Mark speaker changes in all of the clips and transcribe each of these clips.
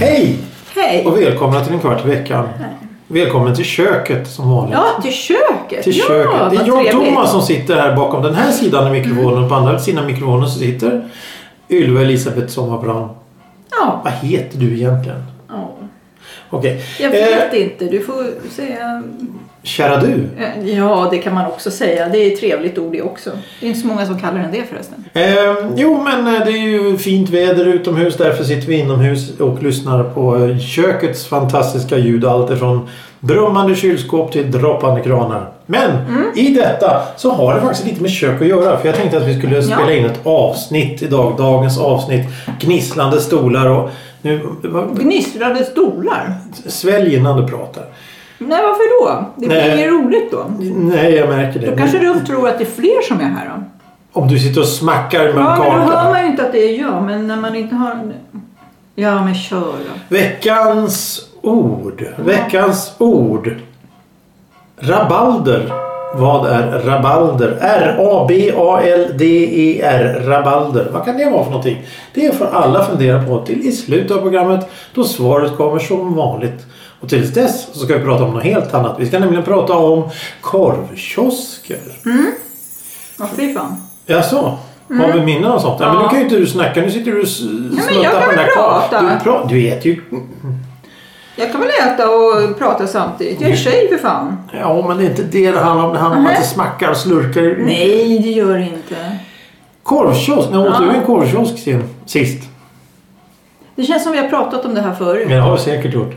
Speaker 1: Hej
Speaker 2: Hej!
Speaker 1: och välkomna till en kvart i veckan. Välkommen till köket som vanligt.
Speaker 2: Ja, till köket!
Speaker 1: till
Speaker 2: ja,
Speaker 1: köket. Det är
Speaker 2: vad
Speaker 1: jag och
Speaker 2: trevligt. Mm.
Speaker 1: Thomas som sitter här bakom den här sidan av mikrofonen. Och på andra sidan mikrofonen så sitter Ylva Elisabeth Sommarbrand.
Speaker 2: Ja.
Speaker 1: Vad heter du egentligen?
Speaker 2: ja.
Speaker 1: Okej. Eh,
Speaker 2: Jag vet inte, du får säga...
Speaker 1: kära du.
Speaker 2: Eh, Ja, det kan man också säga. Det är ett trevligt ord det också. Det är inte så många som kallar den det förresten.
Speaker 1: Ehm, jo, men eh, det är ju fint väder utomhus. Därför sitter vi inomhus och lyssnar på eh, kökets fantastiska ljud. Allt ifrån brummande kylskåp till droppande kranar. Men
Speaker 2: Mm.
Speaker 1: i detta så har det faktiskt lite med kök att göra. För jag tänkte att vi skulle spela in ett avsnitt idag. Dagens avsnitt. Gnisslande stolar och... Nu, vad-
Speaker 2: Gnisslade stolar.
Speaker 1: svälj innan du pratar.
Speaker 2: Nej, varför då? Det blir
Speaker 1: Nej.
Speaker 2: inget roligt då.
Speaker 1: Nej, jag märker det.
Speaker 2: Då kanske du tror att det är fler som är här då?
Speaker 1: Om du sitter och smackar med en
Speaker 2: Ja, men då hör
Speaker 1: karta.
Speaker 2: man ju inte att det är jag. Men när man inte har... en- Ja, men kör då.
Speaker 1: Veckans ord. Veckans ord. Rabalder. Vad är rabalder? R-A-B-A-L-D-E-R. E Rabalder. Vad kan det vara för någonting? Det får alla fundera på till i slutet av programmet då svaret kommer som vanligt. Och tills dess så ska vi prata om något helt annat. Vi ska nämligen prata om korvkiosker.
Speaker 2: Mm. Ja, fy fan.
Speaker 1: Jaså? Har vi minnen och sånt? Ja. men nu kan ju inte du snacka. Nu sitter du och s-
Speaker 2: Mm. men
Speaker 1: snuttar
Speaker 2: jag kan
Speaker 1: på den
Speaker 2: väl
Speaker 1: här
Speaker 2: prata.
Speaker 1: kartan. Du, pra- du äter ju...
Speaker 2: Jag kan väl äta och prata samtidigt.
Speaker 1: Mm.
Speaker 2: Jag är tjej för fan.
Speaker 1: Ja, men det är inte det det handlar om. Det handlar om att det smackar och slurkar.
Speaker 2: Nej, det gör det inte.
Speaker 1: Korvkiosk. När åt
Speaker 2: Ja.
Speaker 1: du en korvkiosk sen- sist?
Speaker 2: Det känns som vi har pratat om det här förut.
Speaker 1: Men det har vi säkert gjort.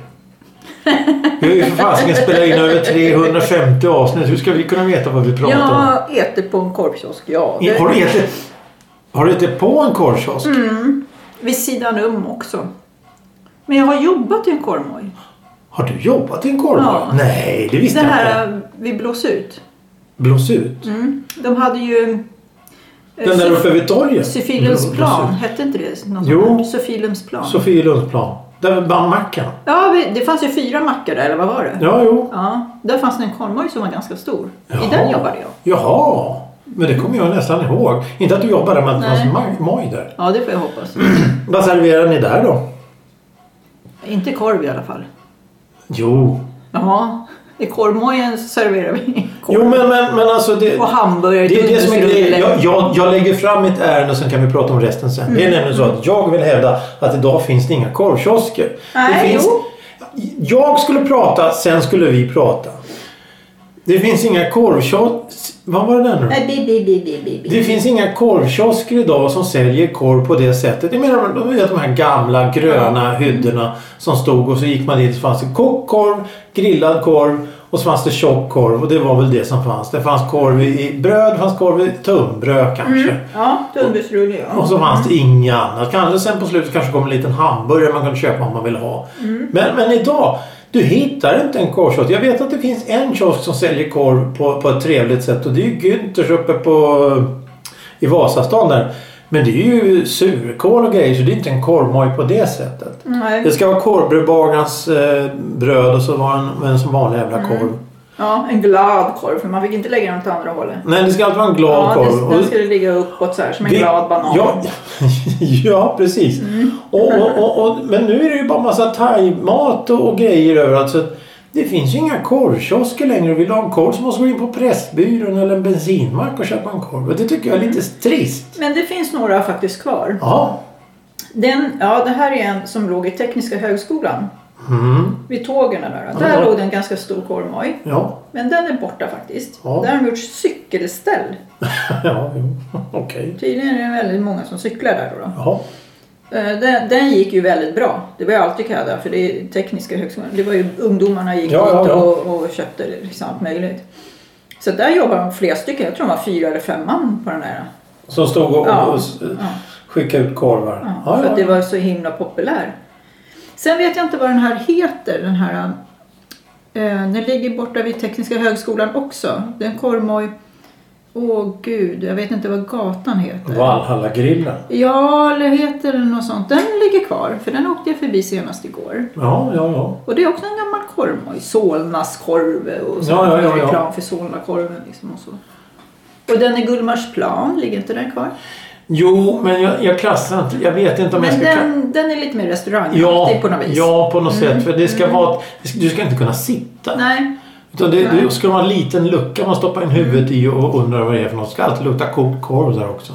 Speaker 1: Vi har ju för fasiken spelat in över 350 avsnitt. Hur ska vi kunna veta vad vi pratar om?
Speaker 2: Jag äter på en korvkiosk, ja. Mm.
Speaker 1: I- Har
Speaker 2: Det,
Speaker 1: du ätit... Har du ätit på en korvkiosk?
Speaker 2: vid sidan om också. Men jag har jobbat i en korvmoj.
Speaker 1: Har du jobbat i en korv?
Speaker 2: Ja.
Speaker 1: Nej, det visste
Speaker 2: Det
Speaker 1: jag inte.
Speaker 2: här vi blås ut.
Speaker 1: Blås ut.
Speaker 2: Mm. De hade ju... eh,
Speaker 1: Den där
Speaker 2: Sof-
Speaker 1: uppe vid torget.
Speaker 2: Sofilums
Speaker 1: Blås
Speaker 2: plan,
Speaker 1: ut.
Speaker 2: hette inte det? Något
Speaker 1: Jo.
Speaker 2: sånt där? Sofilums plan.
Speaker 1: Sofielundsplan. Där med bandmackan.
Speaker 2: ja, vi- det fanns ju fyra mackar där, eller vad var det?
Speaker 1: Ja, jo.
Speaker 2: Ja, där fanns det en korvmoj som var ganska stor.
Speaker 1: Jaha.
Speaker 2: I den jobbade jag.
Speaker 1: Jaha. Men det kommer jag nästan ihåg. Inte att du jobbade med att det fanns
Speaker 2: Nej.
Speaker 1: ma- moj alltså, där.
Speaker 2: Ja, det får jag hoppas.
Speaker 1: Vad serverar ni där då?
Speaker 2: inte korv i alla fall.
Speaker 1: Jo.
Speaker 2: Jaha, i korvmojen serverar vi korv.
Speaker 1: Jo men, men, men alltså det...
Speaker 2: Och hamburgare,
Speaker 1: Det är det som är
Speaker 2: tunnbrödsrulle.
Speaker 1: grejen. Jag, jag, jag lägger fram mitt ärende och sen kan vi prata om resten sen.
Speaker 2: Mm.
Speaker 1: Det är nämligen så att jag vill hävda att idag finns det inga korvkiosker. det
Speaker 2: Nej,
Speaker 1: finns...
Speaker 2: jo.
Speaker 1: Jag skulle prata, sen skulle vi prata. Det finns inga korvkiosker... Vad var det där nu?
Speaker 2: Nej, bi, bi, bi, bi, bi, bi.
Speaker 1: Det finns inga korvkiosker idag som säljer korv på det sättet. Jag menar de, de här gamla gröna hyddorna som stod och så gick man dit och så fanns det kokkorv, grillad korv och så fanns det tjock korv och det var väl det som fanns. Det fanns korv i i bröd, det fanns korv i tunnbröd kanske.
Speaker 2: Ja, tunnbrödsrulle
Speaker 1: Och
Speaker 2: ja.
Speaker 1: så fanns det inget annat. Kanske sen på slutet kanske kom en liten hamburgare man kunde köpa om man ville ha.
Speaker 2: Mm.
Speaker 1: Men, men idag, du hittar inte en korvkiosk. Jag vet att det finns en kiosk som säljer korv på, på ett trevligt sätt och det är ju Günthers uppe på, i Vasastan där. Men det är ju surkål och grejer så det är inte en korvmoj på det sättet. Det
Speaker 2: Nej.
Speaker 1: ska vara korvbrödbagarens eh, bröd och så var en, en som vanlig jävla korv.
Speaker 2: Mm. Ja, en glad korv för man fick inte lägga den åt andra hållet.
Speaker 1: Nej, det ska alltid vara en glad
Speaker 2: Ja,
Speaker 1: korv.
Speaker 2: det,
Speaker 1: Och-
Speaker 2: den skulle ligga uppåt så här som en
Speaker 1: Det-
Speaker 2: glad banan. Mm.
Speaker 1: Ja, ja precis. Och, och, och, och, men nu är det ju bara massa thaimat och, och grejer överallt. Så att det finns ju inga korvkiosker längre. Vill du ha en korv så måste du gå in på Pressbyrån eller en bensinmack och köpa en korv. Och det tycker jag är lite trist.
Speaker 2: Men det finns några faktiskt kvar.
Speaker 1: Ja.
Speaker 2: Den, ja, det här är en som låg i Tekniska högskolan.
Speaker 1: Mm.
Speaker 2: Vid tågen där.
Speaker 1: Ja,
Speaker 2: Där
Speaker 1: det var-
Speaker 2: låg det en ganska stor korvmoj.
Speaker 1: Ja.
Speaker 2: Men den är borta faktiskt.
Speaker 1: Ja.
Speaker 2: Där har de gjort cykelställ.
Speaker 1: ja, jo. Okej.
Speaker 2: Tydligen är det väldigt många som cyklar där då. då.
Speaker 1: Ja.
Speaker 2: Eh, Den, den gick ju väldigt bra. Det var ju alltid kö där för det är tekniska högskolan. Det var ju ungdomarna gick
Speaker 1: Ja, ja,
Speaker 2: dit
Speaker 1: ja.
Speaker 2: Och, och köpte liksom allt möjligt. Så där jobbar de flera stycken. Jag tror de var fyra eller fem man på den där.
Speaker 1: Som stod och,
Speaker 2: Ja.
Speaker 1: och s-
Speaker 2: Ja,
Speaker 1: skickade ut korvar.
Speaker 2: ja,
Speaker 1: Ja,
Speaker 2: för
Speaker 1: ja.
Speaker 2: att det var så himla populär. Sen vet jag inte vad den här heter. Den här. eh, Den ligger borta vid Tekniska högskolan också. Den korvmoj Åh gud, jag vet inte vad gatan heter.
Speaker 1: Valhalla-grillen.
Speaker 2: Ja, eller heter den något sånt. Den ligger kvar, för den åkte jag förbi senast igår.
Speaker 1: Ja, ja, ja.
Speaker 2: Och det är också en gammal korvmoj. Solnas korv och så.
Speaker 1: Ja, ja, ja, ja.
Speaker 2: reklam för Solnakorven liksom och så. Och den i Gullmarsplan, ligger inte den kvar?
Speaker 1: Jo, men jag, jag klassar inte. Jag vet inte om jag
Speaker 2: Men
Speaker 1: ska... kla-
Speaker 2: den, den är lite mer restaurangaktig
Speaker 1: ja,
Speaker 2: på något vis. Mm.
Speaker 1: ja, på något sätt. För det ska vara... ett- det ska- Du ska inte kunna sitta.
Speaker 2: Nej,
Speaker 1: Utan det,
Speaker 2: Nej.
Speaker 1: det ska vara en liten lucka man stoppar in huvudet i och undrar vad det är för något. Det ska alltid lukta kokt korv där också.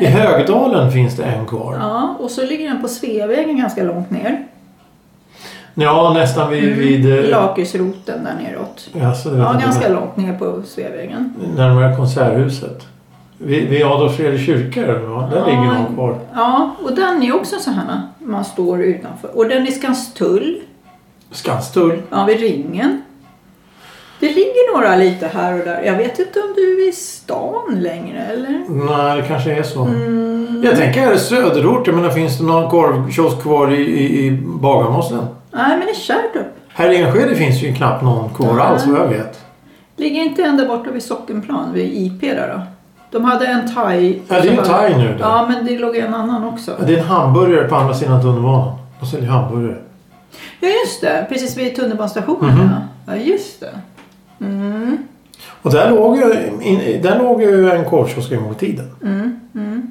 Speaker 1: I Högdalen finns det en kvar.
Speaker 2: ja. Och så ligger den på Sveavägen ganska långt ner.
Speaker 1: Ja, nästan vid... vid eh,
Speaker 2: Lakritsroten där neråt.
Speaker 1: Jaså, det vet
Speaker 2: Mm. Ja,
Speaker 1: inte
Speaker 2: ganska
Speaker 1: vad-
Speaker 2: långt ner på Sveavägen.
Speaker 1: Närmare Konserthuset. Vid, vid Adolf Fredriks kyrka, eller vad? där
Speaker 2: Ja.
Speaker 1: ligger någon kvar.
Speaker 2: Ja, och den är också så här man står utanför. Och den är Skanstull.
Speaker 1: Skanstull.
Speaker 2: Ja, vid ringen. Det ligger några lite här och där. Jag vet inte om du är i stan längre eller?
Speaker 1: Nej, det kanske är så.
Speaker 2: Mm.
Speaker 1: Jag tänker här i söderort. Jag menar, finns det någon korvkiosk kvar i, i, i Bagarmossen?
Speaker 2: Nej, men i Kärrtorp.
Speaker 1: Här i Enskede finns ju knappt någon kvar
Speaker 2: Nej.
Speaker 1: alls, vad jag vet.
Speaker 2: Ligger inte ända borta vid Sockenplan, vid IP där då? De hade en thai.
Speaker 1: Ja, det är ju thai nu. Där.
Speaker 2: Ja, men det låg en annan också.
Speaker 1: Det är en hamburgare på andra sidan tunnelbanan. De säljer hamburgare.
Speaker 2: Ja, just det. Precis vid tunnelbanestationen.
Speaker 1: Mhm.
Speaker 2: ja. ja, just det. Mm.
Speaker 1: Och där låg ju, in, där låg ju en korvkiosk en gång i tiden.
Speaker 2: Mm. Mm.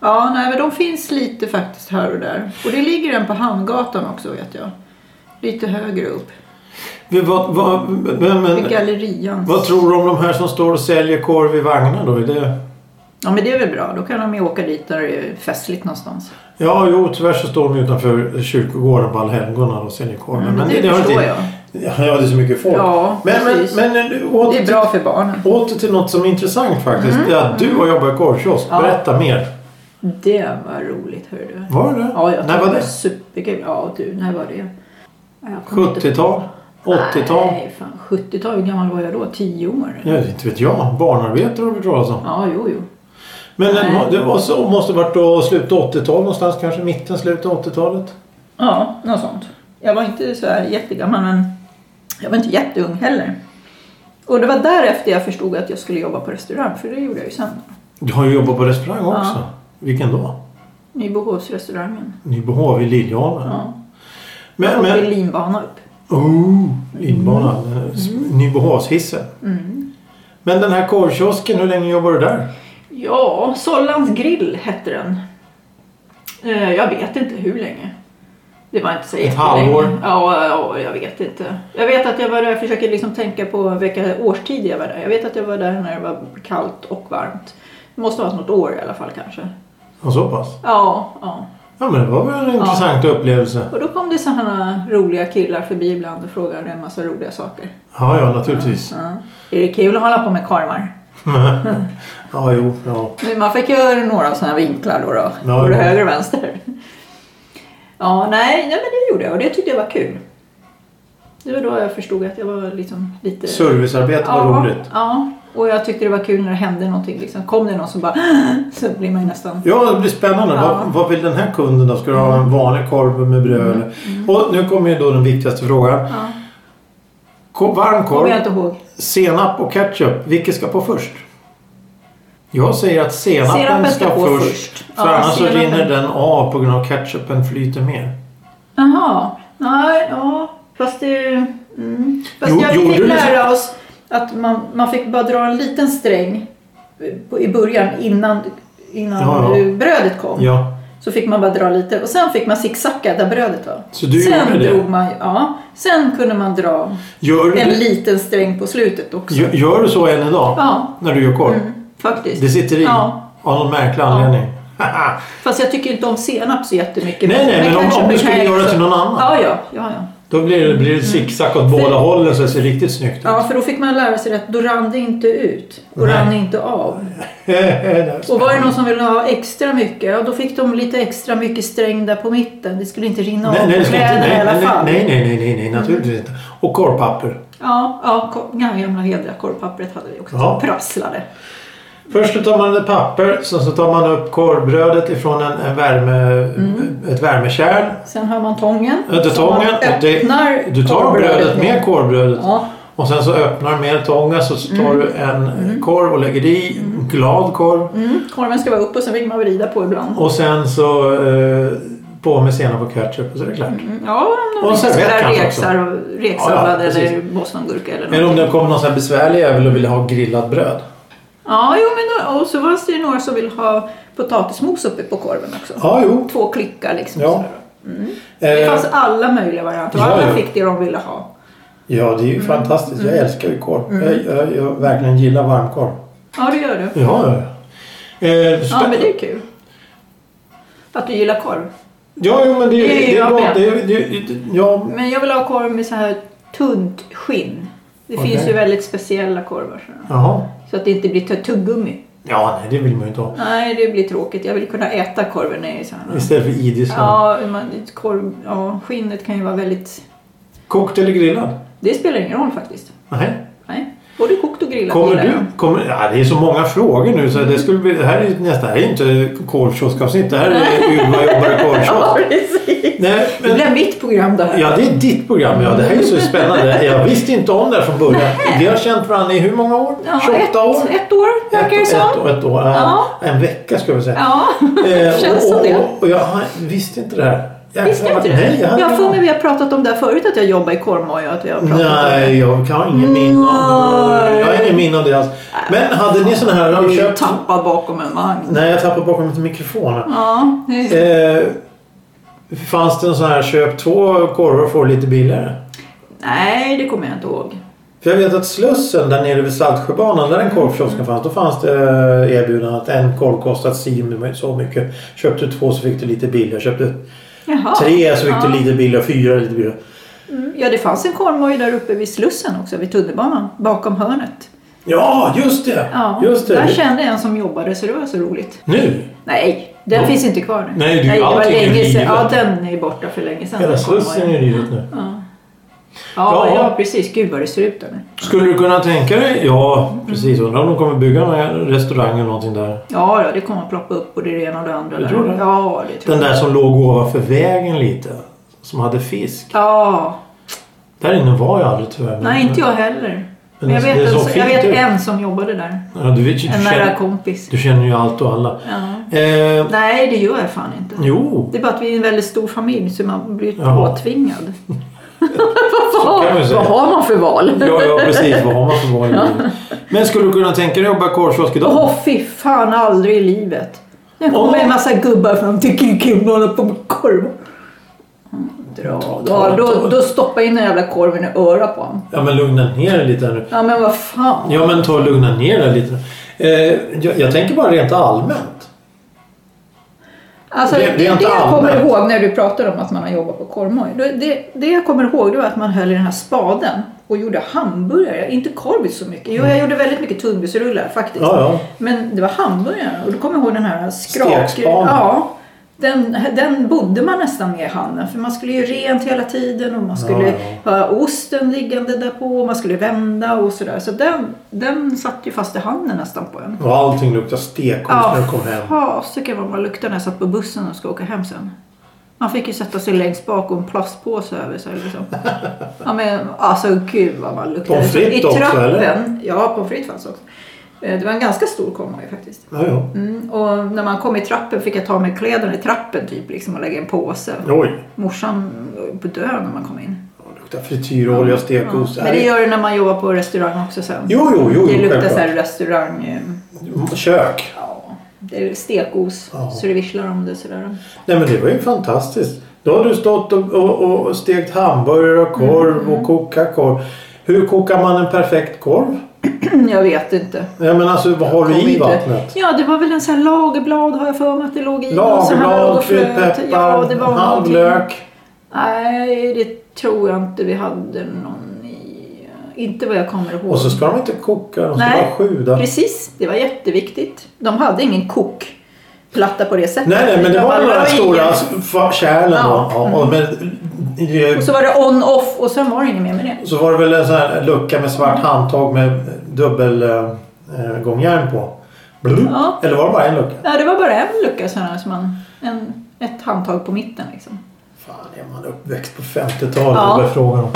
Speaker 2: Ja, nej, men de finns lite faktiskt här och där. Och det ligger en på Hamngatan också vet jag. Lite högre upp.
Speaker 1: Men Vad, vad, men,
Speaker 2: Vid
Speaker 1: men,
Speaker 2: Gallerian.
Speaker 1: vad tror du om de här som står och säljer korv i vagnar då? Är det...
Speaker 2: Ja men det är väl bra. Då kan de ju åka dit när det är festligt någonstans.
Speaker 1: Ja, jo, tyvärr så står de utanför kyrkogården på Allhelgona och säljer korv.
Speaker 2: Mm, men det
Speaker 1: har
Speaker 2: förstår
Speaker 1: inte... jag. Ja, det är så mycket folk.
Speaker 2: Ja,
Speaker 1: men, men,
Speaker 2: precis.
Speaker 1: men nu, åter,
Speaker 2: Det är bra för barnen.
Speaker 1: Till, åter till något som är intressant faktiskt. Det är att du har jobbat i korvkiosk.
Speaker 2: Ja.
Speaker 1: Berätta mer.
Speaker 2: Det var roligt hörru du.
Speaker 1: Var det det?
Speaker 2: Ja
Speaker 1: När
Speaker 2: jag tyckte
Speaker 1: var
Speaker 2: det var
Speaker 1: det?
Speaker 2: superkul. Ja du, när var det? Ja, jag kommer inte-
Speaker 1: 70-tal? 80-tal?
Speaker 2: Nej fan, 70-tal. Hur gammal var jag då? 10 år?
Speaker 1: Ja, inte vet jag. Barnarbete har vi talat om.
Speaker 2: Ja, jo jo.
Speaker 1: Men det
Speaker 2: Nej.
Speaker 1: må- det var så, måste varit då slutet 80-tal någonstans kanske. Mitten, slutet 80-talet.
Speaker 2: Ja, något sånt. Jag var inte så här jättegammal men jag var inte jätteung heller. Och det var därefter jag förstod att jag skulle jobba på restaurang för det gjorde jag ju sen.
Speaker 1: Du har ju jobbat på restaurang
Speaker 2: Ja.
Speaker 1: också. Vilken då?
Speaker 2: Nybohovsrestaurangen.
Speaker 1: Nybyhov i Lilljanen.
Speaker 2: Ja.
Speaker 1: Men,
Speaker 2: Och vid
Speaker 1: men...
Speaker 2: linbana upp.
Speaker 1: Oh, Lindbanan. Mm. Nybyhovshissen.
Speaker 2: Mm.
Speaker 1: Men den här korvkiosken, hur länge jobbade du där?
Speaker 2: Ja, Sollans grill hette den. Eh, Jag vet inte hur länge. Det var inte så jättelänge.
Speaker 1: halvår?
Speaker 2: Ja, ja, jag vet inte. Jag vet att jag var där, jag försöker liksom tänka på vilka årstider jag var där. Jag vet att jag var där när det var kallt och varmt. Det måste ha varit något år i alla fall kanske.
Speaker 1: Ja, så pass?
Speaker 2: Ja, ja.
Speaker 1: Ja, men det var väl en intressant upplevelse.
Speaker 2: Och då kom det sådana roliga killar förbi ibland och frågade en massa roliga saker.
Speaker 1: Ja, ja, naturligtvis.
Speaker 2: Ja. Är det kul att hålla på med karmar?
Speaker 1: ja, jo, ja.
Speaker 2: Men Man fick ju några sådana vinklar då. då.
Speaker 1: Ja,
Speaker 2: Både
Speaker 1: ja.
Speaker 2: höger och vänster. Ja, nej, nej, men det gjorde jag och det tyckte jag var kul. Det var då jag förstod att jag var liksom lite...
Speaker 1: Servicearbete var
Speaker 2: ja,
Speaker 1: roligt.
Speaker 2: Ja, och jag tyckte det var kul när det hände någonting. Liksom. Kom det någon som bara... Så blir man ju nästan...
Speaker 1: Ja, det blir spännande.
Speaker 2: Ja.
Speaker 1: Vad, vad vill den här kunden då? Ska du ha en vanlig korv med bröd? eller?
Speaker 2: Mm.
Speaker 1: Och nu kommer ju då den viktigaste frågan.
Speaker 2: Ja,
Speaker 1: Ko- Varm
Speaker 2: kommer jag
Speaker 1: korv,
Speaker 2: inte ihåg.
Speaker 1: senap och ketchup. Vilket ska på först? Jag säger att senapen,
Speaker 2: Senapen
Speaker 1: ska,
Speaker 2: ska på
Speaker 1: först.
Speaker 2: först.
Speaker 1: För
Speaker 2: Ja,
Speaker 1: annars så
Speaker 2: senapen.
Speaker 1: rinner den av på grund av att ketchupen flyter mer.
Speaker 2: Jaha, nej, ja. Fast det... Mm. Fast
Speaker 1: Jo-
Speaker 2: jag
Speaker 1: gjorde
Speaker 2: fick
Speaker 1: du det?
Speaker 2: lära oss att man, man fick bara dra en liten sträng på- i början innan, innan
Speaker 1: Ja, ja.
Speaker 2: brödet kom.
Speaker 1: Ja.
Speaker 2: Så fick man bara dra lite och sen fick man zigzacka där brödet var.
Speaker 1: Så du
Speaker 2: sen
Speaker 1: gjorde det?
Speaker 2: drog man, ja. Sen kunde man dra
Speaker 1: Gör, du-
Speaker 2: en liten sträng på slutet också.
Speaker 1: gör, gör du så än idag?
Speaker 2: Ja,
Speaker 1: När du gör korv?
Speaker 2: mm, faktiskt.
Speaker 1: Det sitter i?
Speaker 2: Ja.
Speaker 1: Av någon märklig anledning? Haha.
Speaker 2: Fast jag tycker inte om senap så jättemycket.
Speaker 1: Nej, nej, men om-
Speaker 2: kanske
Speaker 1: om du
Speaker 2: kan
Speaker 1: skulle
Speaker 2: jag
Speaker 1: göra det
Speaker 2: också-
Speaker 1: till någon annan.
Speaker 2: Ja, ja, ja, ja.
Speaker 1: då blir det, blir det zigzag åt båda hållen så det ser riktigt snyggt ut.
Speaker 2: Mm. Ja, för då fick man lära sig att då rann det inte ut och
Speaker 1: Nej.
Speaker 2: rann inte av. Och var det någon som ville ha extra mycket, ja, då fick de lite extra mycket sträng där på mitten. Det skulle inte rinna
Speaker 1: Nej,
Speaker 2: av
Speaker 1: nej,
Speaker 2: på
Speaker 1: det ska inte,
Speaker 2: kläderna
Speaker 1: nej,
Speaker 2: i alla
Speaker 1: nej,
Speaker 2: fall. Mm.
Speaker 1: nej, nej, nej, nej, nej, naturligtvis inte. Och korvpapper.
Speaker 2: Ja, ja, ko- ja, gamla hedra korvpappret hade vi också.
Speaker 1: Ja.
Speaker 2: som Prasslade.
Speaker 1: Först så tar man ett papper, sen så tar man upp korvbrödet ifrån en, en värme, ett värmekärl.
Speaker 2: Sen har man tången.
Speaker 1: Äh, Du
Speaker 2: som
Speaker 1: tar,
Speaker 2: Mm. man
Speaker 1: tången och det,
Speaker 2: öppnar
Speaker 1: du tar brödet med korvbrödet
Speaker 2: Ja.
Speaker 1: Och sen så öppnar du med tånga så tar du en eh,
Speaker 2: Mm.
Speaker 1: korv och lägger i. Glad korv.
Speaker 2: Mm. Korven ska vara upp och sen vill man vrida på ibland.
Speaker 1: Och sen så eh, på med senap och ketchup och så är det klart.
Speaker 2: Mm. Ja, om
Speaker 1: Och
Speaker 2: man
Speaker 1: servett kanske också.
Speaker 2: reksar, reksallad
Speaker 1: Ja, ja,
Speaker 2: eller bostongurka eller
Speaker 1: Eller om
Speaker 2: någonting.
Speaker 1: det kommer någon sån här besvärlig jävel och vill ha grillat bröd.
Speaker 2: Mm. Ja, jo, men då, och så var det ju några som vill ha potatismos uppe på korven också.
Speaker 1: Ja, jo.
Speaker 2: Två klickar liksom.
Speaker 1: Ja.
Speaker 2: sådär. Det
Speaker 1: Eh,
Speaker 2: fanns alla möjliga varianter och
Speaker 1: Ja,
Speaker 2: alla
Speaker 1: ja.
Speaker 2: fick det de ville ha.
Speaker 1: ja, det är ju
Speaker 2: Mm.
Speaker 1: fantastiskt. Jag älskar ju korv. Jag, jag, jag verkligen gillar varmkorv.
Speaker 2: Ja, det gör du.
Speaker 1: Ja, ja. Eh,
Speaker 2: Ja, men det är kul. Att du gillar korv.
Speaker 1: Ja, jo, men det,
Speaker 2: Det är
Speaker 1: det är
Speaker 2: jag
Speaker 1: bra.
Speaker 2: med.
Speaker 1: Det, det, det, ja,
Speaker 2: Men jag vill ha korv med så här tunt skinn. Det
Speaker 1: Okej.
Speaker 2: finns ju väldigt speciella korvar. sådär.
Speaker 1: jaha.
Speaker 2: Så att det inte blir t- tuggummi.
Speaker 1: Ja, nej, det vill man ju inte ha.
Speaker 2: Nej, det blir tråkigt. Jag vill kunna äta korven i så här.
Speaker 1: Istället för idisslan.
Speaker 2: Ja, man, korv, ja, skinnet kan ju vara väldigt...
Speaker 1: Kokt eller grillad?
Speaker 2: Det spelar ingen roll faktiskt.
Speaker 1: Nej.
Speaker 2: Nej. Både kokt och grillat
Speaker 1: Kommer
Speaker 2: gillar jag.
Speaker 1: du? Kommer, ja, det är så många frågor nu så det, skulle bli, det här är ju nästan... Det här är ju inte korvkioskavsnitt. Det här är Ylva jobbar i
Speaker 2: Ja,
Speaker 1: korvkiosk.
Speaker 2: precis.
Speaker 1: Nej,
Speaker 2: Det
Speaker 1: men
Speaker 2: blir mitt program det här.
Speaker 1: Ja, det är ditt program. Ja, det här är så spännande. Jag visste inte om det här från början. Vi har känt varandra i hur många år?
Speaker 2: Ja,
Speaker 1: 28 år?
Speaker 2: ett, ett år verkar det
Speaker 1: ett,
Speaker 2: som.
Speaker 1: ett, år- ett år.
Speaker 2: Ja.
Speaker 1: En vecka skulle jag säga.
Speaker 2: Ja,
Speaker 1: Eh,
Speaker 2: känns
Speaker 1: och,
Speaker 2: som det.
Speaker 1: Och, och jag har- visste inte det här. Jag,
Speaker 2: Visste du inte det?
Speaker 1: Nej, jag hade
Speaker 2: jag
Speaker 1: ingen
Speaker 2: får mig
Speaker 1: aning.
Speaker 2: vi har pratat om det här förut, att jag jobbar i Kormoy och att vi har pratat om det.
Speaker 1: Nej, jag har ingen minne av det. Jag har ingen minne av det alls. Men hade ni sådana här...
Speaker 2: Jag
Speaker 1: Har
Speaker 2: har
Speaker 1: du
Speaker 2: ju
Speaker 1: köpt...
Speaker 2: tappat bakom en vagn.
Speaker 1: Nej, jag tappade bakom till mikrofonen.
Speaker 2: Ja, det är-
Speaker 1: Eh, fanns det en sån här köp två korvar och få lite billigare?
Speaker 2: Nej, det kommer jag inte ihåg.
Speaker 1: För jag vet att Slussen där nere vid Saltsjöbanan där den korvkiosken fanns. Då fanns det eh, erbjudande att en korv kostade si med så mycket. Köpte du två så fick du lite billigare. Köpte du
Speaker 2: Jaha.
Speaker 1: tre så fick
Speaker 2: ja.
Speaker 1: du lite billigare. Fyra lite billigare.
Speaker 2: Mm, Ja, det fanns en Kormoy där uppe vid Slussen också, vid tunnelbanan, bakom hörnet.
Speaker 1: Ja, just det!
Speaker 2: Ja,
Speaker 1: just det.
Speaker 2: Där kände jag en som jobbade så det var så roligt.
Speaker 1: Nu!
Speaker 2: Nej, den
Speaker 1: Ja.
Speaker 2: finns inte kvar nu.
Speaker 1: Nej, det är ju
Speaker 2: det var
Speaker 1: allting är
Speaker 2: länge
Speaker 1: rivet.
Speaker 2: sedan. Ja, den är borta för länge sedan.
Speaker 1: Hela
Speaker 2: den Kormoy.
Speaker 1: Slussen är rivet nu.
Speaker 2: Ja. Ja,
Speaker 1: Ja.
Speaker 2: ja. precis. Gud vad det ser ut där nu.
Speaker 1: Skulle du kunna tänka dig? Ja,
Speaker 2: Mm.
Speaker 1: precis. Undrar om de kommer bygga en restaurang eller någonting där.
Speaker 2: Ja, då, det kommer att ploppa upp både det ena och det andra.
Speaker 1: Du
Speaker 2: där.
Speaker 1: tror det?
Speaker 2: Ja, det tror
Speaker 1: Den
Speaker 2: jag.
Speaker 1: där som låg ovanför vägen lite. Som hade fisk.
Speaker 2: Ja,
Speaker 1: Där inne var jag aldrig tyvärr. men-
Speaker 2: nej inte jag heller.
Speaker 1: Men
Speaker 2: Men jag
Speaker 1: det- det
Speaker 2: vet, en,
Speaker 1: såg
Speaker 2: jag
Speaker 1: fint
Speaker 2: vet
Speaker 1: ut.
Speaker 2: en som jobbade där.
Speaker 1: Ja, du, vet, ju- du,
Speaker 2: En nära
Speaker 1: känner,
Speaker 2: kompis.
Speaker 1: du känner ju allt och alla.
Speaker 2: Ja.
Speaker 1: Eh,
Speaker 2: Nej, det gör jag fan inte.
Speaker 1: jo,
Speaker 2: Det är bara att vi är en väldigt stor familj så man blir
Speaker 1: Jaha.
Speaker 2: påtvingad.
Speaker 1: så kan man ju
Speaker 2: Vad
Speaker 1: säga.
Speaker 2: har man för val?
Speaker 1: Ja, ja precis. Vad har man för val i livet? Men skulle du kunna tänka dig att jobba i korvkiosk idag?
Speaker 2: Åh fy fan, aldrig i livet. Nu kommer
Speaker 1: Åh.
Speaker 2: en massa gubbar fram till killen och håller på med korv. Mm, Dra. Ja, då, då stoppar jag in den jävla korven i örat på honom.
Speaker 1: Ja, men lugna ner dig lite här nu.
Speaker 2: Ja men vad fan.
Speaker 1: Ja, men ta och lugna ner dig lite. Eh, jag, jag tänker bara rent allmänt.
Speaker 2: Alltså,
Speaker 1: Det-
Speaker 2: det,
Speaker 1: det är
Speaker 2: det,
Speaker 1: inte
Speaker 2: jag kommer
Speaker 1: allmänt.
Speaker 2: ihåg när du pratade om att man har jobbat på korvmoj. Det, det, det jag kommer ihåg det var att man höll i den här spaden och gjorde hamburgare. Inte korv så mycket. Jo, jag gjorde väldigt mycket tunnbrödsrullar faktiskt.
Speaker 1: Mm. Ja, ja.
Speaker 2: Men det var hamburgaren och då kommer jag ihåg den här skrak...
Speaker 1: Stekspaden.
Speaker 2: Ja, den, den bodde man nästan med i handen för man skulle ju rent hela tiden och man skulle
Speaker 1: Ja,
Speaker 2: ha osten liggande där på och man skulle vända och sådär. Så den, den satt ju fast i handen nästan på en.
Speaker 1: Och allting luktar stekost när du kom hem.
Speaker 2: fasiken vad man luktade när jag satt på bussen och skulle åka hem sen. Man fick ju sätta sig längst bak och en plastpåse över sig. Liksom. Ja, men, alltså gud vad man luktade.
Speaker 1: Pommes frites
Speaker 2: I
Speaker 1: också,
Speaker 2: trappen,
Speaker 1: eller?
Speaker 2: Ja, pommes frites fanns också. Eh, Det var en ganska stor komma ju faktiskt.
Speaker 1: Ja, ja.
Speaker 2: Mm, och när man kom i trappen fick jag ta med kläderna i trappen typ liksom, och lägga i en påse.
Speaker 1: Oj,
Speaker 2: Morsan var på dö när man kom in.
Speaker 1: det luktar frityrolja och stekost.
Speaker 2: Men det gör det när man jobbar på restaurang också sen.
Speaker 1: Jo, jo, jo.
Speaker 2: det luktar så
Speaker 1: självklart.
Speaker 2: här restaurang... eh,
Speaker 1: Kök.
Speaker 2: Ja, det är stekos
Speaker 1: Ja.
Speaker 2: så det visslar om det sådär.
Speaker 1: Nej men det var ju fantastiskt. Då har du stått och, och, och stekt hamburgare och korv
Speaker 2: Mm.
Speaker 1: och kokat korv. Hur kokar man en perfekt korv?
Speaker 2: Mm, Jag vet inte.
Speaker 1: Nej men alltså vad har du
Speaker 2: Kommer
Speaker 1: i
Speaker 2: inte-
Speaker 1: vattnet?
Speaker 2: Ja, det var väl en sån här lagerblad har jag för mig att det låg i. och så här
Speaker 1: Lagerblad,
Speaker 2: och flöt. Ja, det
Speaker 1: kryddpeppar,
Speaker 2: var
Speaker 1: halv
Speaker 2: någonting.
Speaker 1: lök.
Speaker 2: Nej, det tror jag inte vi hade någon i. Inte vad jag kommer ihåg.
Speaker 1: Och så ska de inte koka, de ska
Speaker 2: Nej.
Speaker 1: bara sjuda. Nej
Speaker 2: Precis, det var jätteviktigt. De hade ingen kokplatta på det sättet.
Speaker 1: nej men det
Speaker 2: De
Speaker 1: var
Speaker 2: bara,
Speaker 1: de där
Speaker 2: ingen-
Speaker 1: stora fa- kärlen då.
Speaker 2: Ja.
Speaker 1: Ja, och med,
Speaker 2: Och så var det on-off och sen var det inget mer med det.
Speaker 1: så var det väl en sån här lucka med
Speaker 2: Mm.
Speaker 1: svart handtag med dubbelgångjärn på. Blum.
Speaker 2: Ja.
Speaker 1: Eller var det bara en lucka?
Speaker 2: Nej, det var bara en lucka sån här som man... En, ett handtag på mitten liksom.
Speaker 1: Fan, är man uppväxt på 50-talet?
Speaker 2: Ja.
Speaker 1: Det är frågan om.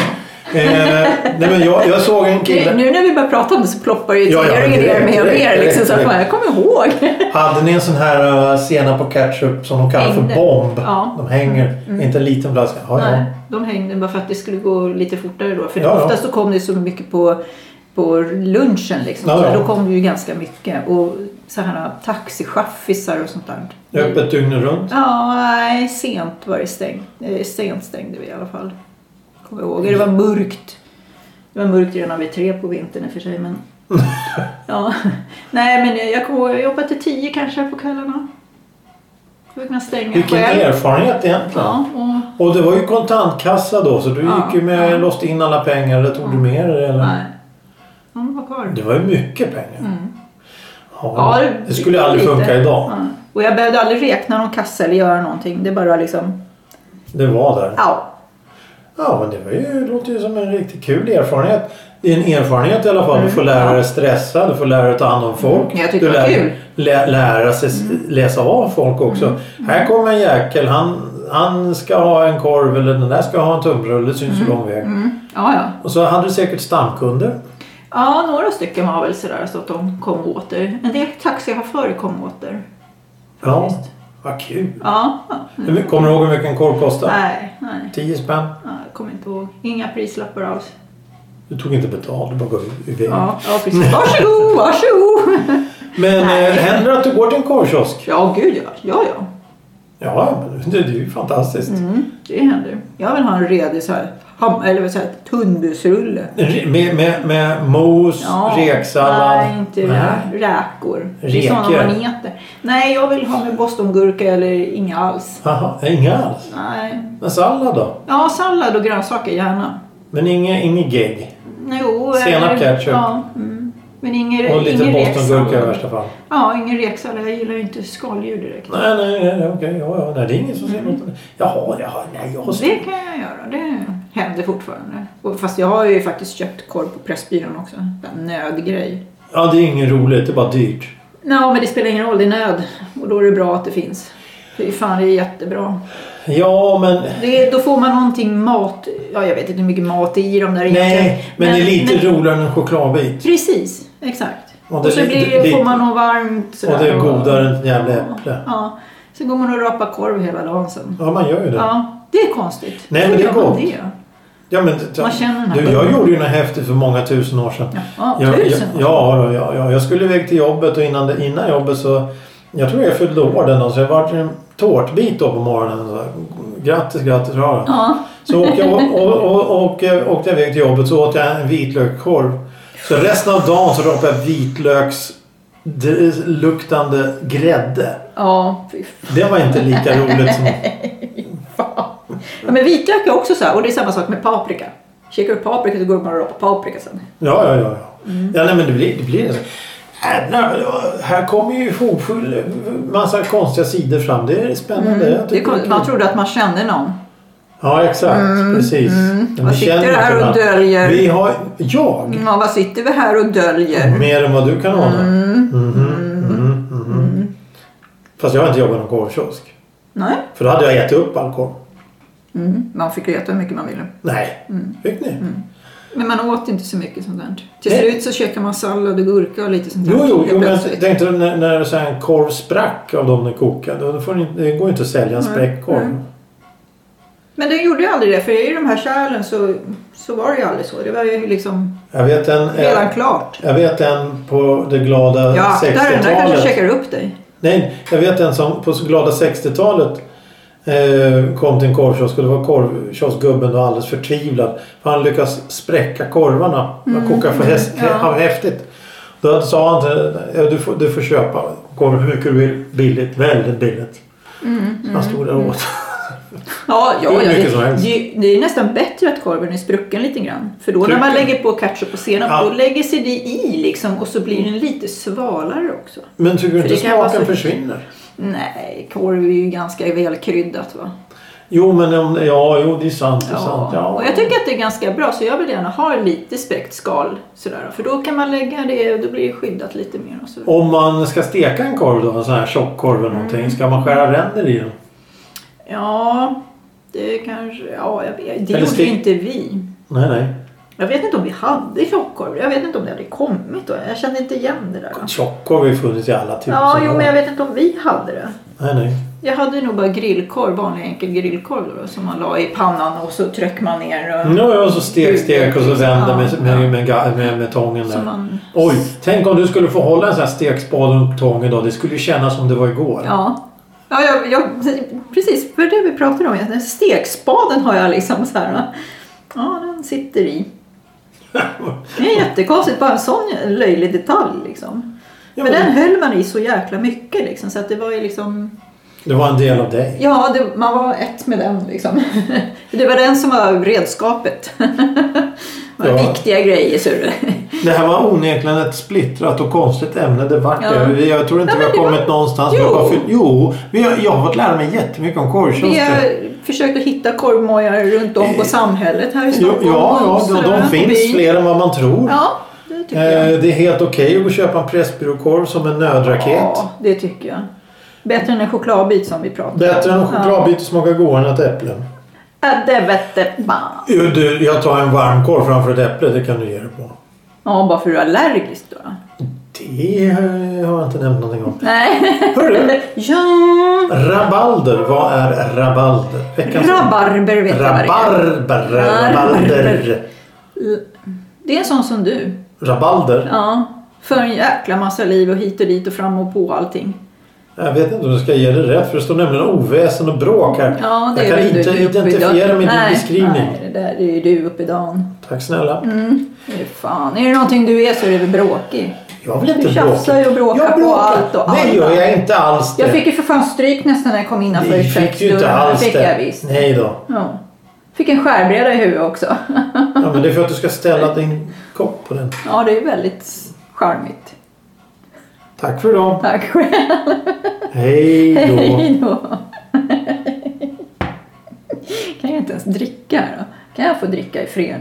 Speaker 1: Eh, nej men jag, jag såg en
Speaker 2: Nu,
Speaker 1: kille.
Speaker 2: nu när vi börjar prata om det så ploppar ju
Speaker 1: Ja, ja,
Speaker 2: tillgöringen ner
Speaker 1: direkt,
Speaker 2: mer och mer.
Speaker 1: direkt,
Speaker 2: Liksom, så att
Speaker 1: direkt.
Speaker 2: man, jag kommer ihåg.
Speaker 1: Hade ni en sån här eh, senap och ketchup som de kallar för
Speaker 2: Hängde.
Speaker 1: bomb?
Speaker 2: Ja. Mm.
Speaker 1: De hänger. Inte en liten flaska. Ja, ja.
Speaker 2: Nej, de hängde bara för att det skulle gå lite fortare då. För
Speaker 1: Ja, ja.
Speaker 2: ofta så kom det så mycket på, på lunchen liksom.
Speaker 1: Ja,
Speaker 2: så
Speaker 1: ja.
Speaker 2: Då kom det ju ganska mycket. Och så här taxichaffisar och sånt där.
Speaker 1: Öppet dygnet runt.
Speaker 2: Ja, nej, sent var det stängt. Eh, Sent stängde vi i alla fall. Kommer jag ihåg. Det var mörkt. Det var mörkt redan vid tre på vintern i och för sig. Men... ja. Nej, men jag kommer ihåg, jag jobbade till tio kanske på kvällarna. Fick man stänga
Speaker 1: Vilken
Speaker 2: själv.
Speaker 1: erfarenhet egentligen.
Speaker 2: Ja, och
Speaker 1: Och det var ju kontantkassa då så du
Speaker 2: Ja. Mm.
Speaker 1: gick ju med, låste in alla pengar eller tog du med dig? Eller?
Speaker 2: Nej. De var kvar.
Speaker 1: Det var ju mycket pengar. Ja,
Speaker 2: Ja,
Speaker 1: det, skulle
Speaker 2: lite.
Speaker 1: aldrig funka idag.
Speaker 2: Ja. Och jag behövde aldrig räkna någon kassa eller göra någonting. Det bara liksom...
Speaker 1: Det var där.
Speaker 2: Ja.
Speaker 1: Ja, men det var ju, det låter ju som en riktigt kul erfarenhet. Det är en erfarenhet i alla fall. Du får lära dig stressa, du får lära dig ta hand om folk.
Speaker 2: Mm, jag tyckte
Speaker 1: du
Speaker 2: det var
Speaker 1: lär,
Speaker 2: kul. Mm.
Speaker 1: lä, lära sig s- läsa av folk också. Här kommer en jäkel, han, han ska ha en korv eller den där ska ha en tunnbröd. Det syns ju lång väg.
Speaker 2: Mm. Ja, ja.
Speaker 1: Och så hade du säkert stamkunder.
Speaker 2: Ja, några stycken var väl sådär så att de kom åter. En del taxichaufförer kom åter.
Speaker 1: Ja,
Speaker 2: Faktiskt.
Speaker 1: vad kul.
Speaker 2: Ja. ja.
Speaker 1: Hur mycket- Kommer du ihåg hur mycket en korv kostar?
Speaker 2: Mm. Nej, nej.
Speaker 1: 10 spänn.
Speaker 2: Ja, Jag kommer inte ihåg. Inga prislappar alls.
Speaker 1: Du tog inte betalt, du bara gav iväg.
Speaker 2: Ja, ja precis. Varsågod, varsågod.
Speaker 1: Men
Speaker 2: Nej.
Speaker 1: eh, händer det att du går till en korvkiosk?
Speaker 2: Ja, gud ja. Ja, ja.
Speaker 1: Ja, men det, det är ju fantastiskt.
Speaker 2: Mm, det händer. Jag vill ha en redig så här, ham- eller vad säger jag, tunnbusrulle.
Speaker 1: Re- Med, med, med mos, reksallad?
Speaker 2: Nej, inte rä- räkor. Det är
Speaker 1: Reker.
Speaker 2: sådana man äter. Nej, jag vill ha med bostongurka eller inga alls.
Speaker 1: Aha, inga alls?
Speaker 2: Nej.
Speaker 1: Men sallad då?
Speaker 2: Ja, sallad och grönsaker gärna.
Speaker 1: Men inga, inga gegg?
Speaker 2: Jo,
Speaker 1: Senap, ketchup.
Speaker 2: Ja, mm. Men ingen,
Speaker 1: Och lite
Speaker 2: ingen
Speaker 1: bostongurka i
Speaker 2: reksallad.
Speaker 1: värsta fall?
Speaker 2: Ja, ingen reksallad. Jag gillar ju inte skaldjur direkt.
Speaker 1: Nej, nej, nej, nej, okej. Ja, ja, nej, det är ingen som ser något. Jaha, jaha, nej, jag har
Speaker 2: Mm. Det kan jag göra. Det händer fortfarande. Och Fast jag har ju faktiskt köpt korv på Pressbyrån också. En nödgrej.
Speaker 1: Ja, det är inget roligt, det är bara dyrt.
Speaker 2: Nej, men det spelar ingen roll. Det är nöd. Och då är det bra att det finns. Fy fan, det är jättebra.
Speaker 1: Ja, men...
Speaker 2: Det, då får man någonting mat. Ja, jag vet inte hur mycket mat det är i dem där egentligen.
Speaker 1: Nej, men, det är lite roligare än en chokladbit.
Speaker 2: Precis, exakt.
Speaker 1: Och
Speaker 2: Och,
Speaker 1: det är
Speaker 2: så
Speaker 1: lite-
Speaker 2: blir,
Speaker 1: lite-
Speaker 2: får man något varmt. sådär
Speaker 1: Och det är
Speaker 2: och-
Speaker 1: godare än ett jävla äpple.
Speaker 2: Ja. Sen går man och rapar korv hela dagen sen.
Speaker 1: Ja, man gör ju det.
Speaker 2: Ja, det är konstigt.
Speaker 1: Nej,
Speaker 2: Hur
Speaker 1: men det är
Speaker 2: gör man
Speaker 1: gott.
Speaker 2: det?
Speaker 1: Ja, men,
Speaker 2: Man känner den här
Speaker 1: du, jag gjorde ju något häftigt för många tusen år sedan.
Speaker 2: Ja,
Speaker 1: jag, jag,
Speaker 2: tusen år
Speaker 1: ja, ja, ja, jag skulle iväg till jobbet och innan, det, innan jobbet så... Jag tror jag fyllde år den dagen så jag var en tårtbit då på morgonen. Så, här, grattis, grattis, ja.
Speaker 2: Ja.
Speaker 1: Så åkte jag, och, och, och, och, eh, åkte jag iväg till jobbet så åt jag en vitlökskorv. Så resten av dagen så droppade jag vitlöksluktande grädde.
Speaker 2: Ja, fy fan.
Speaker 1: Det var inte lika roligt som...
Speaker 2: ja, men vitlök är också så här. Och det är samma sak med paprika. Kikar du paprika så går man och rapar paprika sen.
Speaker 1: Ja, ja, ja. ja.
Speaker 2: Mm.
Speaker 1: Ja, nej, men det blir det. Blir det. Jävlar, det var- här kommer ju hopfull massa konstiga sidor fram. Det är spännande. Jag
Speaker 2: Mm. Det
Speaker 1: tycker
Speaker 2: kom,
Speaker 1: det är
Speaker 2: man
Speaker 1: kul.
Speaker 2: trodde att man kände någon.
Speaker 1: Ja, exakt. Precis. Men
Speaker 2: Mm. Vad
Speaker 1: vi
Speaker 2: sitter
Speaker 1: känner
Speaker 2: du här
Speaker 1: inte
Speaker 2: och
Speaker 1: varandra.
Speaker 2: döljer?
Speaker 1: Vi har... Jag?
Speaker 2: Ja, vad sitter vi här och döljer?
Speaker 1: Mer än vad du kan ana.
Speaker 2: Mm.
Speaker 1: Mhm, mhm, mhm. Fast jag har inte jobbat i någon korvkiosk.
Speaker 2: Nej,
Speaker 1: För då hade jag ätit upp all korv.
Speaker 2: mm. man fick veta hur mycket man ville.
Speaker 1: Nej.
Speaker 2: Mm.
Speaker 1: Fick ni?
Speaker 2: Men man åt inte så mycket sånt där. Till
Speaker 1: Nej.
Speaker 2: slut så käkade man sallad och gurka och lite sånt där.
Speaker 1: Jo, jo, jo men jag
Speaker 2: Plötsligt.
Speaker 1: tänkte när, när så här en korv sprack av dem ni kokade. Då får ni, det går ju inte att sälja en spräckkorv.
Speaker 2: Men det gjorde ju aldrig det, för i de här kärlen så, så var det ju aldrig så. Det var ju liksom
Speaker 1: Jag vet en... eh,
Speaker 2: redan klart.
Speaker 1: Jag vet en på det glada
Speaker 2: Ja, där den där kanske
Speaker 1: 60-talet.
Speaker 2: checkar upp dig.
Speaker 1: Nej, jag vet en som på det glada 60-talet eh, kom till en korvkiosk och det var korvkioskgubben då alldeles förtvivlad. För han lyckas spräcka korvarna. Han kokar för häst,
Speaker 2: Mm. ja.
Speaker 1: hä- häftigt. Då sa han till ja, du, får, du får köpa korv hur mycket du vill. Billigt, väldigt billigt.
Speaker 2: Mm,
Speaker 1: Han stod där och åt.
Speaker 2: Ja, ja,
Speaker 1: Hur
Speaker 2: ja
Speaker 1: mycket som
Speaker 2: det,
Speaker 1: helst.
Speaker 2: det, det är nästan bättre att korven är sprucken lite grann. För då när man
Speaker 1: Tycker-
Speaker 2: lägger på ketchup och senap,
Speaker 1: Ja. Mm.
Speaker 2: då lägger sig det i liksom och så blir den lite svalare också.
Speaker 1: Men tycker du inte
Speaker 2: det kan vara
Speaker 1: smaken
Speaker 2: så-
Speaker 1: försvinner?
Speaker 2: Nej, korv är ju ganska välkryddat va.
Speaker 1: Jo, men om, ja, jo, det är sant. Det är sant.
Speaker 2: Ja.
Speaker 1: Ja.
Speaker 2: Och jag tycker att det är ganska bra så jag vill gärna ha lite spräckt skal sådär. För då kan man lägga det, då blir det skyddat lite mer och så.
Speaker 1: Om man ska steka en korv då, en sån här tjockkorv eller någonting, ska man skära ränder i den?
Speaker 2: Ja, det kanske... Ja, jag vet. Det
Speaker 1: Eller
Speaker 2: gjorde
Speaker 1: stek-
Speaker 2: inte vi.
Speaker 1: Nej, nej.
Speaker 2: Jag vet inte om vi hade tjockkorv. Jag vet inte om det hade kommit då. Jag kände inte igen det där.
Speaker 1: Tjockkorv har ju funnits i alla tusen
Speaker 2: Ja, jo,
Speaker 1: år.
Speaker 2: men jag vet inte om vi hade det.
Speaker 1: Nej, nej.
Speaker 2: Jag hade nog bara grillkorv, vanlig enkel grillkorv då, som man la i pannan och så tryckte man ner. Och,
Speaker 1: Nu har jag så stek, stek och så vänder med, med, med, ga- med, med tången
Speaker 2: så
Speaker 1: där.
Speaker 2: man,
Speaker 1: Oj, tänk om du skulle få hålla en sån här stekspade och tång idag. Det skulle ju kännas som det var igår.
Speaker 2: ja. Ja, jag, jag, precis. För det vi pratade om. Den stekspaden har jag liksom så här. va. Ja, den sitter i. Det är jättekonstigt. Bara en sån löjlig detalj liksom.
Speaker 1: Ja,
Speaker 2: Men den
Speaker 1: men
Speaker 2: höll man i så jäkla mycket liksom. Så att det var ju liksom.
Speaker 1: det var en del av dig.
Speaker 2: Ja, det, man var ett med den liksom. Det var den som var redskapet. Det var
Speaker 1: Ja.
Speaker 2: viktiga grejer, ser du.
Speaker 1: Det här var onekligen ett splittrat och konstigt ämne. Det vart
Speaker 2: Ja.
Speaker 1: det. Vi- Jag tror inte
Speaker 2: Ja,
Speaker 1: vi
Speaker 2: men
Speaker 1: har
Speaker 2: det var-
Speaker 1: kommit någonstans. Vi har
Speaker 2: Jo.
Speaker 1: bara fyllt- Jo, vi har, jag har fått lära mig jättemycket om
Speaker 2: Vi
Speaker 1: korvkiosker.
Speaker 2: har försökt att hitta korvmojar runt om på samhället här i
Speaker 1: Jo,
Speaker 2: Stockholm.
Speaker 1: Eh, Ja,
Speaker 2: och
Speaker 1: ja, de,
Speaker 2: sådär,
Speaker 1: de
Speaker 2: på
Speaker 1: finns
Speaker 2: byn.
Speaker 1: fler än vad man tror.
Speaker 2: Ja, det tycker jag.
Speaker 1: Eh, Det är helt okej att gå och köpa en Pressbyråkorv som en nödraket.
Speaker 2: Ja, det tycker jag. Bättre än en chokladbit som vi pratade
Speaker 1: Bättre än en chokladbit som smakar godare än ett äpple.
Speaker 2: Ja. Äh, Det vette fan.
Speaker 1: Jo, Du, jag tar en varmkorv framför ett äpple, det kan du ge dig på.
Speaker 2: Ja, bara för att du är allergisk då.
Speaker 1: Det eh, har jag inte nämnt någonting om.
Speaker 2: Nej.
Speaker 1: Hörru,
Speaker 2: Ja.
Speaker 1: rabalder. Vad är rabalder? Veckans
Speaker 2: Rabarber vet jag vad det är.
Speaker 1: Rabarber. Rabalder.
Speaker 2: Det är en sån som du.
Speaker 1: Rabalder?
Speaker 2: Ja, för en jäkla massa liv och hit och dit och fram och på allting.
Speaker 1: Jag vet inte om du ska ge det rätt för det står nämligen oväsen och bråk här.
Speaker 2: Ja, det
Speaker 1: jag kan
Speaker 2: är väl
Speaker 1: inte
Speaker 2: du uppe i
Speaker 1: identifiera
Speaker 2: dagen.
Speaker 1: mig i din
Speaker 2: nej,
Speaker 1: beskrivning.
Speaker 2: Nej, det där det är ju du uppe i dagen.
Speaker 1: Tack snälla.
Speaker 2: Hur Fan, är det någonting du är så är det väl bråkig.
Speaker 1: Jag vill inte
Speaker 2: Du
Speaker 1: bråka.
Speaker 2: tjafsar ju och bråkar
Speaker 1: jag
Speaker 2: på
Speaker 1: bråkar.
Speaker 2: allt och
Speaker 1: Nej,
Speaker 2: alla.
Speaker 1: gör jag inte alls det.
Speaker 2: Jag fick ju för fan stryk nästan när jag kom innanför
Speaker 1: Nej, fick ju inte
Speaker 2: köksdörren.
Speaker 1: alls
Speaker 2: fick
Speaker 1: det.
Speaker 2: jag visst.
Speaker 1: Nej då.
Speaker 2: Ja. Fick en skärbräda i huvudet också.
Speaker 1: Ja, men det är för att du ska ställa din kopp på den.
Speaker 2: Ja, det är ju väldigt charmigt.
Speaker 1: Tack för idag.
Speaker 2: Tack själv.
Speaker 1: Hej då.
Speaker 2: Hej då. Kan jag inte ens dricka här då? Kan jag få dricka i fred?